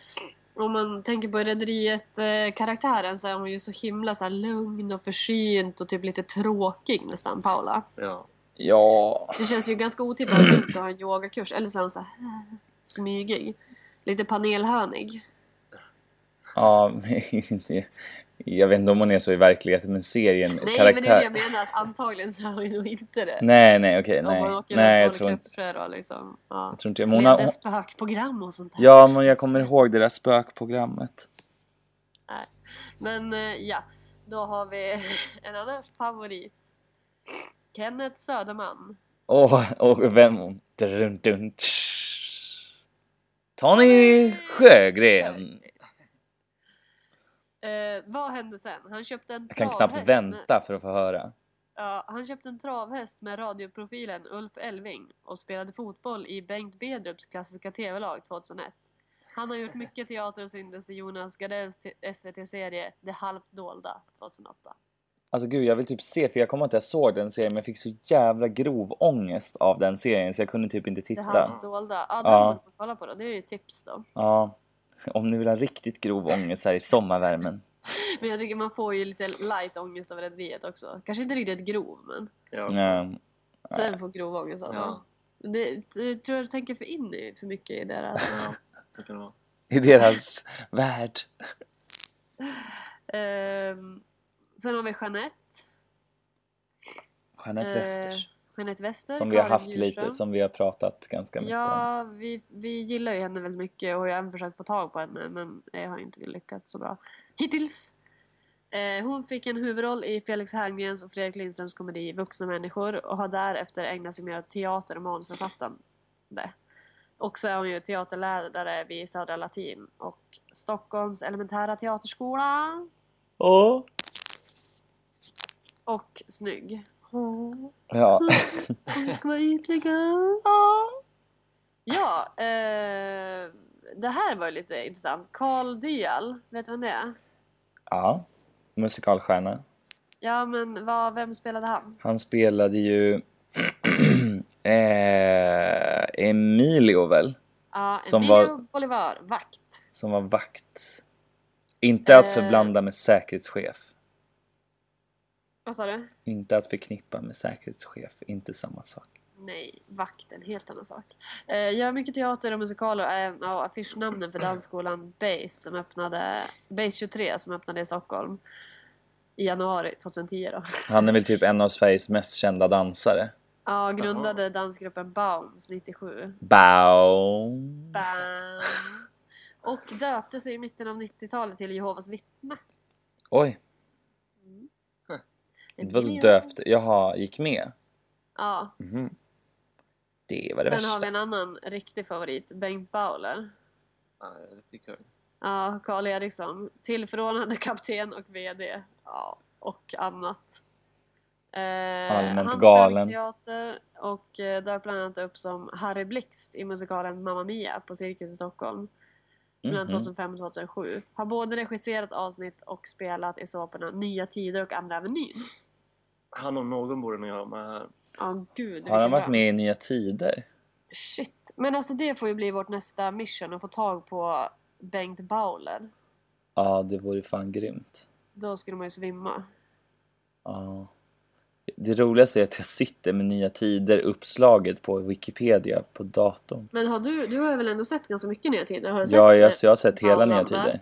B: om man tänker på Rederiet-karaktären så är hon ju så himla så här, lugn och försynt och typ lite tråkig nästan, Paula.
C: Ja.
A: Ja.
B: Det känns ju ganska otippat att hon ska ha en yogakurs, eller så är hon så här, eh, smygig. Lite panelhönig.
A: Ja, men inte- jag vet inte om hon är så i verkligheten, men serien,
B: Nej,
A: karaktär...
B: men det är det jag menar, att antagligen så är hon ju nog inte det.
A: Nej, nej, okej,
B: Om man
A: nej.
B: åker
A: Nej, jag
B: runt och
A: tror
B: håller
A: inte,
B: kurser och liksom, ja.
A: jag tror inte... Men hon har,
B: Leder
A: hon,
B: spökprogram och sånt där.
A: ja, men jag kommer ihåg det där spökprogrammet.
B: Men eh, ja, då har vi en annan favorit. Kenneth Söderman.
A: Åh, och vem hon? Dun, dun, tsch. Tony Sjögren!
B: Eh, vad hände sen? Han köpte en
A: Jag kan
B: travhäst.
A: knappt
B: Med,
A: vänta för att få höra.
B: ja, han köpte en travhäst med radioprofilen Ulf Elving och spelade fotboll i Bengt Bedrups klassiska tv-lag 2001. Han har gjort mycket teater och syntes i Jonas Gardells t- SVT-serie Det halvt dolda 2008.
A: Alltså gud, jag vill typ se, för jag kommer ihåg att jag såg den serien, men jag fick så jävla grov ångest av den serien så jag kunde typ inte
B: Det
A: titta.
B: halvt dolda. Ja, den
A: Ja.
B: borde man kolla på då. Det är ju tips då.
A: Ja. Om ni vill ha riktigt grov ångest här i sommarvärmen.
B: Men jag tycker man får ju lite light ångest av rederiet också. Kanske inte riktigt grov men
C: Ja.
A: Nej.
B: Sven får grov ångest av det.
C: Ja.
B: Det, du tror jag tänker för in i för mycket i deras...
C: Ja, det kan det vara.
A: I deras värld.
B: Ehm, sen har vi Jeanette.
A: Jeanette
B: Eh,
A: Westers.
B: Jeanette Wester.
A: Som vi har
B: Karin
A: haft
B: Djurström.
A: lite, som vi har pratat ganska mycket om.
B: Ja, vi, vi gillar ju henne väldigt mycket och har ju även försökt få tag på henne men jag har inte lyckats så bra hittills. Eh, hon fick en huvudroll i Felix Herngrens och Fredrik Lindströms komedi Vuxna människor och har därefter ägnat sig mer åt teater och manusförfattande. Och så är hon ju teaterlärare vid Södra Latin och Stockholms elementära teaterskola.
A: Åh!
B: Och snygg.
A: Ja.
B: Hon ska vara ytliga. Ja, eh, det här var ju lite intressant. Carl Dyal, vet du vem det är?
A: ja. Musikalstjärna.
B: Ja, men vad, vem spelade han?
A: Han spelade ju eh, Emilio väl?
B: Ja,
A: Som
B: Emilio
A: var-
B: Bolivar, vakt.
A: Som var vakt. Inte att
B: Eh.
A: förblanda med säkerhetschef.
B: Vad sa du?
A: Inte att förknippa med säkerhetschef. Inte samma sak.
B: Nej, vakt, en helt annan sak. Eh, gör mycket teater och musikaler och är en av affischnamnen för dansskolan Base som öppnade, Base 23 som öppnade i Stockholm i januari 2010 då.
A: Han är väl typ en av Sveriges mest kända dansare.
B: Ja, grundade dansgruppen Bounce 97.
A: Baum.
B: Bounce. Och döpte sig i mitten av 90-talet till Jehovas vittne.
A: Oj, det var döpt. Jaha, gick med?
B: Ja.
A: Mhm. Det var det
B: Sen
A: värsta.
B: har vi en annan riktig favorit, Bengt Bauler.
C: Ja, det är lite kul.
B: Ja, Karl Eriksson. Tillförordnade kapten och VD. Ja, och annat. Eh,
A: Allmänt
B: han
A: galen.
B: spelar teater och eh, dök bland annat upp som Harry Blixt i musikalen Mamma Mia på Cirkus i Stockholm. Mellan
A: Mhm.
B: 2005 och 2007. Har både regisserat avsnitt och spelat i såporna Nya Tider och Andra Avenyn.
C: Han om någon borde nog göra med här.
B: Ja, gud
A: Har han
B: vilken
A: varit
B: bra.
A: med i Nya Tider?
B: Shit. Men alltså det får ju bli vårt nästa mission att få tag på Bengt Bauler.
A: Ja, det vore fan grymt.
B: Då skulle man ju svimma.
A: Ja. Det roligaste är att jag sitter med Nya Tider uppslaget på Wikipedia på datorn.
B: Men har du, du har väl ändå sett ganska mycket Nya Tider? Har du sett
A: Ja,
B: eh,
A: jag, jag har sett hela
B: Paul
A: Nya
B: Lundberg?
A: Tider.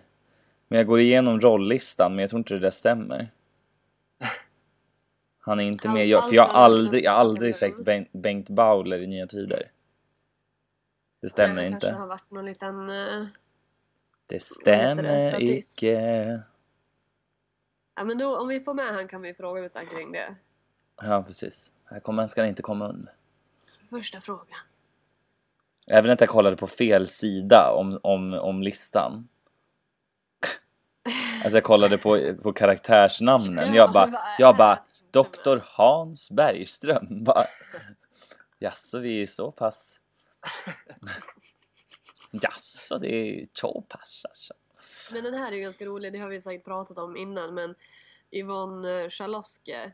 A: Men jag går igenom rolllistan, men jag tror inte det där stämmer. Han är inte
B: Allt-
A: med, jag,
B: allt
A: för jag har
B: annat
A: aldrig,
B: stämmer.
A: jag har aldrig sett Bengt, Bengt Bauler i Nya Tider. Det stämmer
B: Nej,
A: inte.
B: kanske har varit någon liten... eh,
A: Det
B: heter det?
A: stämmer
B: Statist.
A: icke.
B: Ja, men då, om vi får med han kan vi fråga ut han kring det.
A: Ja, precis. Här kommer, ska han inte komma undan.
B: Första frågan.
A: Även att jag kollade på fel sida om, om, om listan. Alltså jag kollade på, på karaktärsnamnen. Jag bara, jag bara Dr. Hans Bergström. Bara, Jaså, vi är så pass... Jaså, det är så pass alltså.
B: Men den här är ju ganska rolig, det har vi säkert pratat om innan, men Yvonne Schalosky, Vera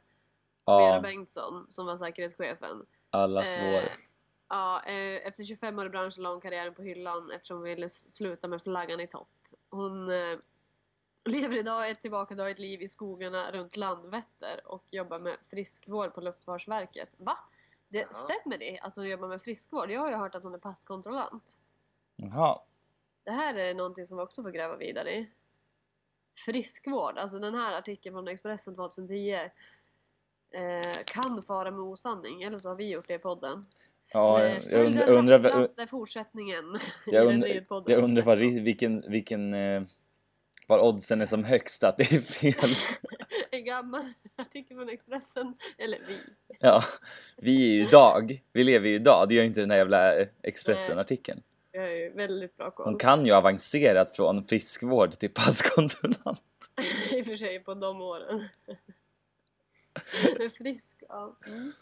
A: Ja,
B: Bengtsson, som var säkerhetschefen,
A: allas vår.
B: Eh, ja, eh, efter 25 år i branschen la hon karriären på hyllan eftersom hon ville s- sluta med flaggan i topp. Hon eh, lever idag ett tillbakadraget liv i skogarna runt Landvetter och jobbar med friskvård på Luftfartsverket. Va? Det,
C: Ja.
B: Stämmer det att hon jobbar med friskvård? Jag har ju hört att hon är passkontrollant.
A: Jaha.
B: Det här är någonting som vi också får gräva vidare i. Friskvård, alltså den här artikeln från Expressen 2010 eh, kan fara med osanning, eller så har vi gjort det i podden.
A: Ja,
B: Eh,
A: jag,
B: följ
A: jag
B: den
A: undrar, undrar,
B: rafflande fortsättningen i
A: Jag
B: den
A: undrar-
B: nyhetspodden.
A: Jag undrar vad, ri- vilken, vilken, eh, var oddsen är som högst att det är fel.
B: En gammal artikel från Expressen. Eller vi.
A: Ja, vi är ju idag, vi lever ju idag, det gör ju inte den här jävla eh, Expressen-artikeln.
B: Jag har ju väldigt bra koll.
A: Hon kan ju ha avancerat från friskvård till passkontrollant.
B: I och för sig på de åren. Men frisk, ja. Mm.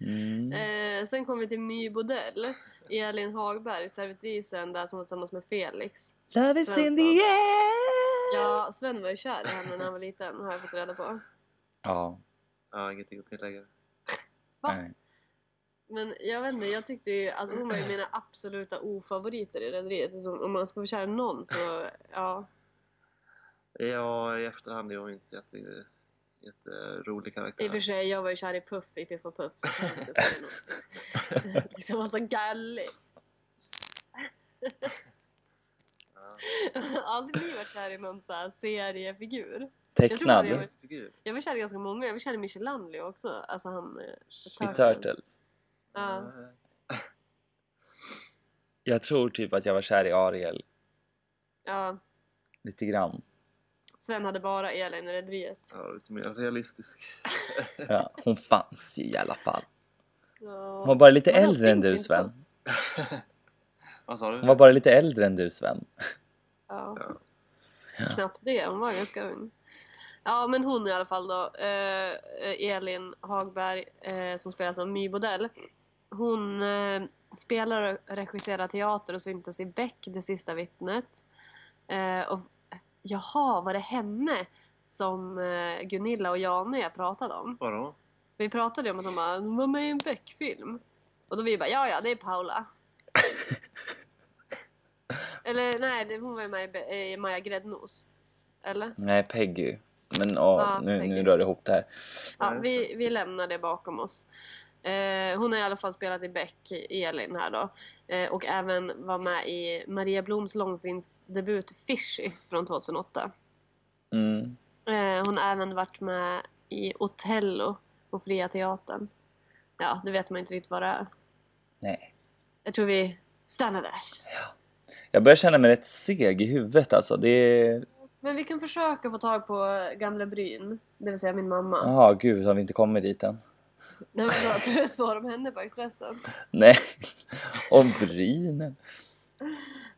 A: Mm.
B: Eh, sen kommer vi till My Bodell. Elin Hagberg, servitrisen där som var tillsammans med Felix.
A: Love is in the
B: Svensson.
A: air!
B: Ja, Sven var ju kär i henne när han var liten har jag fått reda på.
A: Ja,
C: Ja, ingenting att tillägga.
B: Va?
A: nej.
B: Men jag vet inte, jag tyckte ju, alltså hon var ju mina absoluta ofavoriter i Rederiet. Alltså, om man ska vara kär i någon så, ja.
C: Ja, i efterhand är hon inte så jätte... jätterolig
B: I
C: karaktär.
B: och för sig, jag var ju kär i Puff i Piff och Puff så jag ska säga något. Det var så gallig.
C: Ja.
B: Aldrig ni varit kär i någon sån här seriefigur?
A: Tecknad
B: Jag tror det
A: i
B: var- Jag var kär i ganska många, jag var kär i Michelangelo också. Alltså han... eh, Turtle.
A: Turtles.
B: Ja.
A: Jag tror typ att jag var kär i Ariel.
B: Ja,
A: Lite grann.
B: Sven hade bara Elin i rederiet.
C: Ja, lite mer realistisk.
A: Ja, hon fanns ju i alla fall.
B: Ja.
A: Hon var bara lite
B: Men de
A: äldre än
B: finns
A: du
B: inte
A: Sven.
B: på oss.
C: Vad sa du?
A: Hon var bara lite äldre än du Sven.
B: Ja.
A: Ja.
B: Knappt det, hon var ganska ung. Ja, men hon i alla fall då. Eh, Elin Hagberg eh, som spelas av My Bodell. Hon eh, spelar och regisserar teater och syntes i Beck, Det sista vittnet. Eh, och jaha, var det henne som eh, Gunilla och Jane pratade om?
C: Vadå?
B: Vi pratade ju om att hon bara, "Hon var med i en Beck-film. Och då vi bara, ja ja, det är Paula. Eller nej, det- hon var ju med i, Be- i Maja Gräddnos. Eller?
A: Nej, Peggy. Men åh,
B: Ja,
A: nu, nu
B: Peggy.
A: rör det ihop det här.
B: Ja,
C: Ja,
B: vi, vi lämnar det bakom oss. Eh, hon har i alla fall spelat i Beck, Elin här då. Eh, och även var med i Maria Bloms långfilmsdebut Fishy från 2008.
A: Mm.
B: Eh, hon har även varit med i Otello på Fria Teatern. Ja, det vet man inte riktigt vad det är.
A: Nej.
B: Jag tror vi stannar där.
A: Jag börjar känna mig rätt seg i huvudet alltså. Det är...
B: Men vi kan försöka få tag på gamla Bryn, det vill säga min mamma.
A: Jaha, gud, har vi inte kommit dit än?
B: Nej, men jag tror det står om henne på Expressen.
A: Nej. Och Brynel.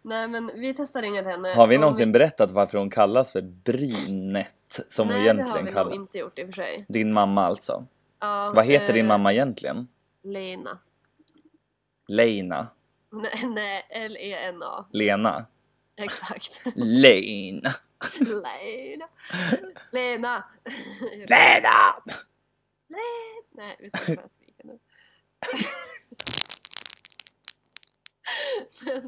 B: Nej, men vi testar ringa till henne.
A: Har vi
B: Om
A: någonsin berättat varför hon kallas för Brinet? Som hon
B: Nej,
A: egentligen
B: det har vi nog
A: kallas.
B: inte gjort i och för sig.
A: Din mamma alltså.
B: Ja,
A: Vad heter din
B: eh,
A: mamma egentligen?
B: Lena.
A: Leina?
B: Nej, nej, L-E-N-A.
A: Lena?
B: Exakt.
A: Lena?
B: Lena. Lena!
A: Lena!
B: Nej, vi ska bara svika nu. Men eh,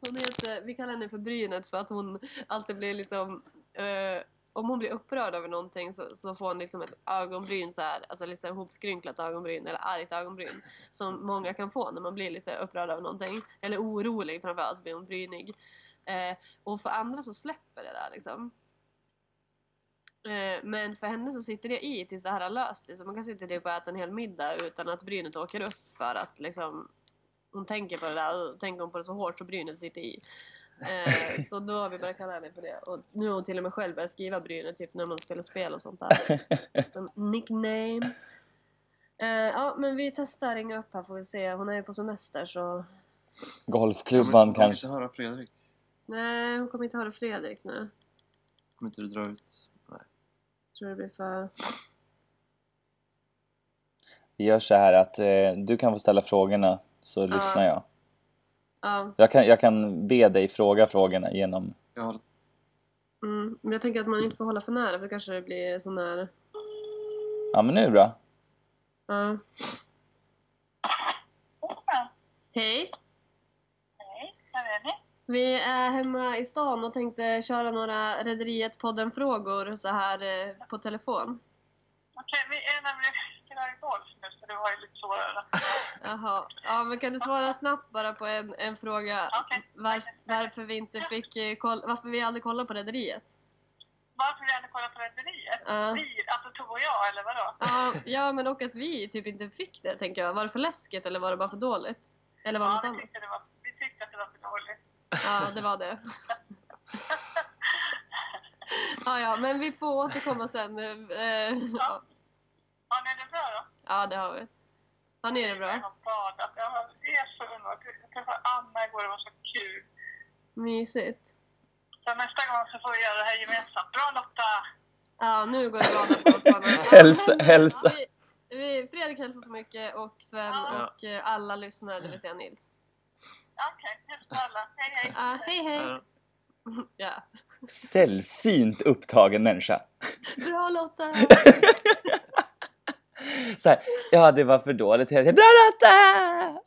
B: hon heter, vi kallar henne för Brynet för att hon alltid blir liksom, eh, om hon blir upprörd över någonting så, så får hon liksom ett ögonbryn så här, alltså lite så här hopskrynklat ögonbryn eller argt ögonbryn som många kan få när man blir lite upprörd över någonting eller orolig framförallt så blir hon brynig. Eh, och för andra så släpper det där liksom. Eh, Men för henne så sitter det i tills det här har löst sig. Så man kan sitta typ och äta en hel middag utan att brynet åker upp för att liksom hon tänker på det där och tänker hon på det så hårt så brynet sitter i. Eh, Så då har vi börjat kalla henne för det. Och nu har hon till och med själv börjat skriva brynet typ när man spelar spel och sånt där. Som nickname. Eh, Ja men vi testar ringa upp här får vi se. Hon är ju på semester så
A: Golfklubban
C: Jag
A: kanske?
C: inte höra Fredrik.
B: nej hon kommer inte höra Fredrik nu.
C: Kommer inte du dra ut? Nej.
B: Tror det blir för...
A: Vi gör så här att eh, du kan få ställa frågorna så lyssnar jag.
B: Ja.
A: Jag kan, jag kan be dig fråga frågorna genom...
C: Jag har...
B: Mm, men jag tänker att man inte får hålla för nära för då kanske det blir sån där...
A: Ja men nu är det bra.
B: Ja. Hej!
D: Vad är det?
B: Vi är hemma i stan och tänkte köra några Rederiet-podden-frågor så här eh, på telefon.
D: Okej, vi är nämligen spelar i golf nu så det var ju lite svårare.
B: Jaha. Ja, men kan du svara snabbt bara på en, en fråga?
D: Okej.
B: Var, varför vi inte fick eh, koll, varför vi aldrig kollade på Rederiet?
D: Varför vi hade kollat på Rederiet?
B: Ja.
D: Vi, alltså Tove och jag, eller vadå?
B: Ja, ja, men och att vi typ inte fick det tänker jag. Var det för läskigt eller var det bara för dåligt? Eller var det något
D: Ja, vi
B: annat?
D: tyckte, det var, vi tyckte att det var för dåligt.
B: Ja, det var det. Ja, ja, men vi får återkomma sen. Eh, ja.
D: Ja, men är det bra då?
B: Ja, det har vi. Ja, nu är det bra.
D: Jag har badat. Jag har- det är så underbart. Jag träffade Anna igår, det var så kul.
B: Mysigt.
D: Så nästa gång så får vi göra det här gemensamt. Bra Lotta!
B: Ja, nu går det bra där på Panna. Ja,
A: Hälsa-
B: men,
A: hälsa.
B: Vi, vi, Fredrik hälsar så mycket och Sven
D: Ja.
B: och eh, alla lyssnare, det vill säga Nils.
D: Okej, okay, hälsa alla. Hej hej!
B: Ja, hej, hej.
C: Ja.
B: Ja.
A: Sällsynt upptagen människa.
B: Bra Lotta!
A: Så här, ja det var för dåligt. Bra Lotta!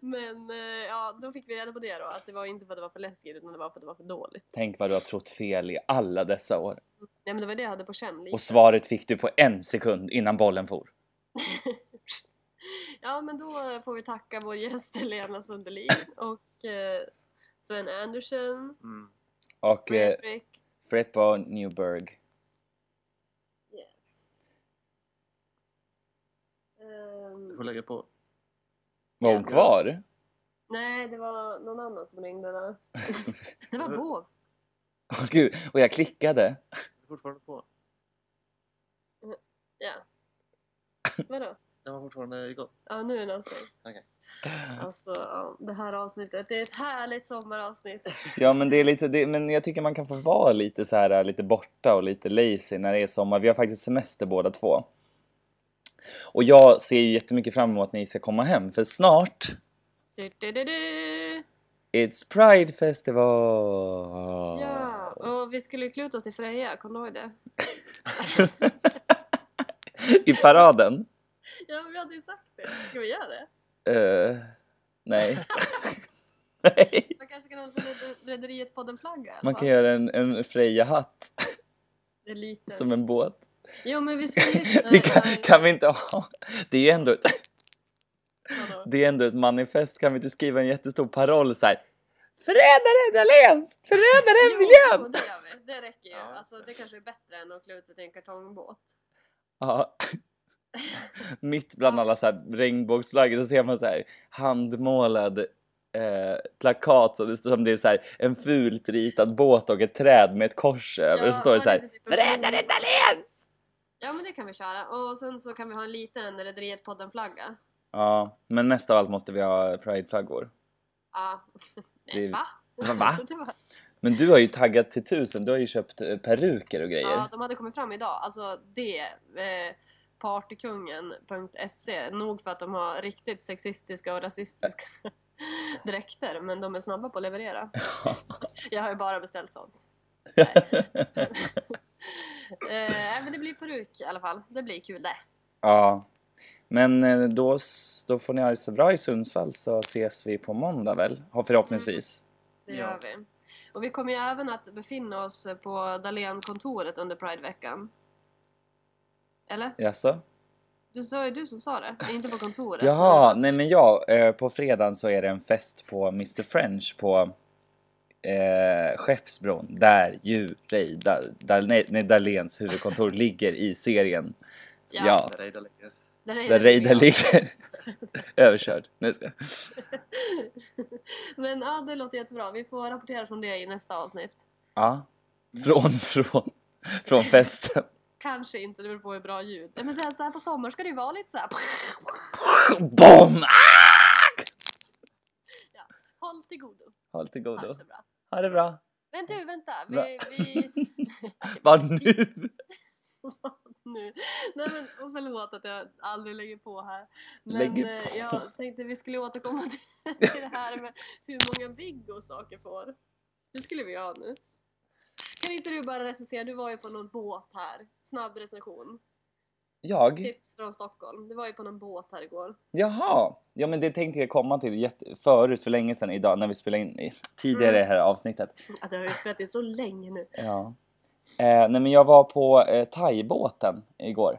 B: Men eh, ja, då fick vi reda på det då. Att det var inte för att det var för läskigt utan det var för att det var för dåligt.
A: Tänk vad du har trott fel i alla dessa år.
B: Nej men det var det jag hade på känn. lite.
A: Och svaret fick du på en sekund innan bollen for.
B: Ja men då får vi tacka vår gäst Helena Sundelin och eh, Sven Andersen,
C: Mm.
A: Och eh,
B: Fredrik.
A: Freppa Newberg. eh,
B: Yes. Ehm,
C: Du får lägga på.
A: Var hon
B: Ja.
A: kvar?
B: nej, det var någon annan som ringde där. det var Båv.
A: Åh gud, och jag klickade.
C: Du är fortfarande på.
B: Vadå?
C: Den var fortfarande igång.
B: Ja, nu är det någonstans.
C: Okej.
B: Alltså, ja, det här avsnittet, det är ett härligt sommaravsnitt.
A: Ja men det är lite, det, men jag tycker man kan få vara lite så här eh, lite borta och lite lazy när det är sommar. Vi har faktiskt semester båda två. Och jag ser ju jättemycket fram emot att ni ska komma hem för snart
B: Du, du, du, du.
A: It's Pride Festival!
B: Ja, och vi skulle ju kluta oss till Freja, kommer du ihåg det?
A: I paraden?
B: Ja, vi hade ju sagt det. Ska vi göra det?
A: Eh, nej. nej.
B: Man kanske kan hålla Red- Rederiet podden-flagga?
A: Man kan göra en, en Freja-hatt
B: Det är lite.
A: som en båt.
B: Jo, men vi skulle ju
A: Det kan, kan vi inte ha. Det är ju ändå ett,
B: Vadå?
A: det är ändå ett manifest. Kan vi inte skriva en jättestor paroll så här? Förrädaren Ahlén! Förrädaren
B: Jo, jo,
A: miljön!
B: det gör vi. Det räcker ju.
C: Ja.
B: Alltså, det kanske är bättre än att klä ut sig till en kartongbåt.
A: Ja. Mitt bland alla så här regnbågsflaggor så ser man så här handmålad eh, plakat som det, står- som det är så här en fult ritad båt och ett träd med ett kors över. och så står det så här Förrädaren Dahléns!
B: typ Ja, men det kan vi köra. Och sen så kan vi ha en liten Rederiet podden-flagga.
A: Ja, men mest av allt måste vi ha prideflaggor.
B: Ja. Nej,
A: Det-
B: va?
A: Va, va?
B: Det var-
A: Men du har ju taggat till tusen, du har ju köpt eh, peruker och
B: Ja,
A: grejer.
B: de hade kommit fram idag. Alltså det, eh, partykungen.se, E, nog för att de har riktigt sexistiska och rasistiska dräkter, men de är snabba på att leverera. Jag har ju bara beställt sånt. Nej. eh, men det blir peruk i alla fall. Det blir kul det.
A: Ja. Men eh, då, s- då får ni ha det så bra i Sundsvall så ses vi på måndag väl? Har Förhoppningsvis.
B: Det
C: Ja.
B: gör vi. Och vi kommer ju även att befinna oss på Dahlén-kontoret under Prideveckan. Eller?
A: Jaså?
B: Du sa ju du som sa det. Inte på kontoret.
A: Jaha,
B: men-
A: nej men ja, eh, på fredagen så är det en fest på Mr French på eh, Skeppsbron där ju Ray, där, där, nej, nej, Dahléns huvudkontor ligger i serien. Ja,
B: Ja,
C: Där Reidar lägger.
B: Där är
A: där
B: det.
A: Reidar ligger. Överkörd. Nu ska jag.
B: Men ja, det låter jättebra. Vi får rapportera från det i nästa avsnitt.
A: Ja. Från, från, från festen.
B: Kanske inte, det beror på hur bra ljud. Nej, Men det är så här på sommaren ska det ju vara lite så här.
A: Bom! Ah!
B: Håll till godo.
A: Ha lite
B: Ha
A: godo.
B: det så bra.
A: Ha det bra.
B: Men du, vänta.
A: Va?
B: Vi... vi...
A: Vad nu?
B: nu. Nej men och förlåt att jag aldrig lägger på här. Men
A: Lägger
B: eh,
A: på.
B: jag tänkte vi skulle återkomma till till det här med hur många Viggo saker får. Det skulle vi ha nu. Kan inte du bara recensera, du var ju på någon båt här. Snabb recension.
A: Jag?
B: Tips från Stockholm. Du var ju på någon båt här igår.
A: Jaha! Ja men det tänkte jag komma till jätte- förut för länge sedan idag när vi spelade in i-
B: Mm.
A: tidigare i det här avsnittet.
B: Alltså jag har ju spelat in så länge nu.
A: Ja. Eh, nej men jag var på eh, thaibåten igår.
B: I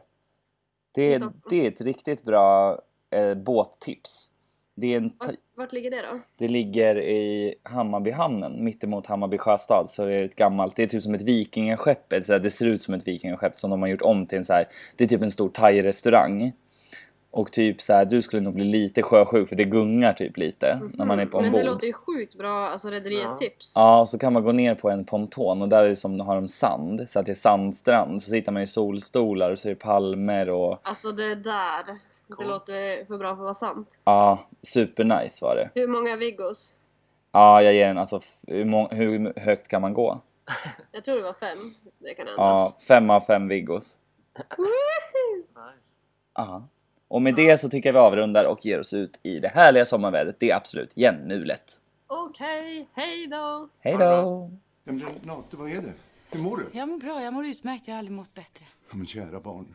A: Det,
B: Stockholm.
A: det är ett riktigt bra eh, båttips. Det, är en
B: Vart,
A: tha-
B: vart ligger det då?
A: det ligger i Hammarbyhamnen, mittemot Hammarby sjöstad. Så det är ett gammalt, det är typ som ett vikingaskepp. ett så här- Det ser ut som ett vikingaskepp som de har gjort om till en så här. Det är typ en stor thai-restaurang. Och typ så här, du skulle nog bli lite sjösjuk för det gungar typ lite när man är på
B: Mm-hmm. Men
A: ombord.
B: det låter ju sjukt bra, alltså rederiet-tips.
A: Ja, och så kan man gå ner på en ponton och där är det som har de sand, så att det är sandstrand. Så sitter man i solstolar och så är det palmer och
B: Alltså det där, det
C: Cool.
B: låter för bra för att vara sant.
A: ja, supernice var det.
B: Hur många Viggos?
A: Ja, jag ger den alltså, f- hur, må- hur högt kan man gå?
B: Jag tror det var fem. Det kan
A: Ja,
B: ändras.
A: fem av fem Viggos.
C: Nice.
A: Ja. Och med det så tycker jag vi avrundar och ger oss ut i det härliga sommarvädret. Det är absolut jämnmulet.
B: Okej, hej då!
A: Hej
C: Ha det
A: då!
E: Ja, men Renate, vad är det? Hur mår du?
F: Jag mår bra, jag mår utmärkt. Jag har aldrig mått bättre.
E: Ja, men kära barn,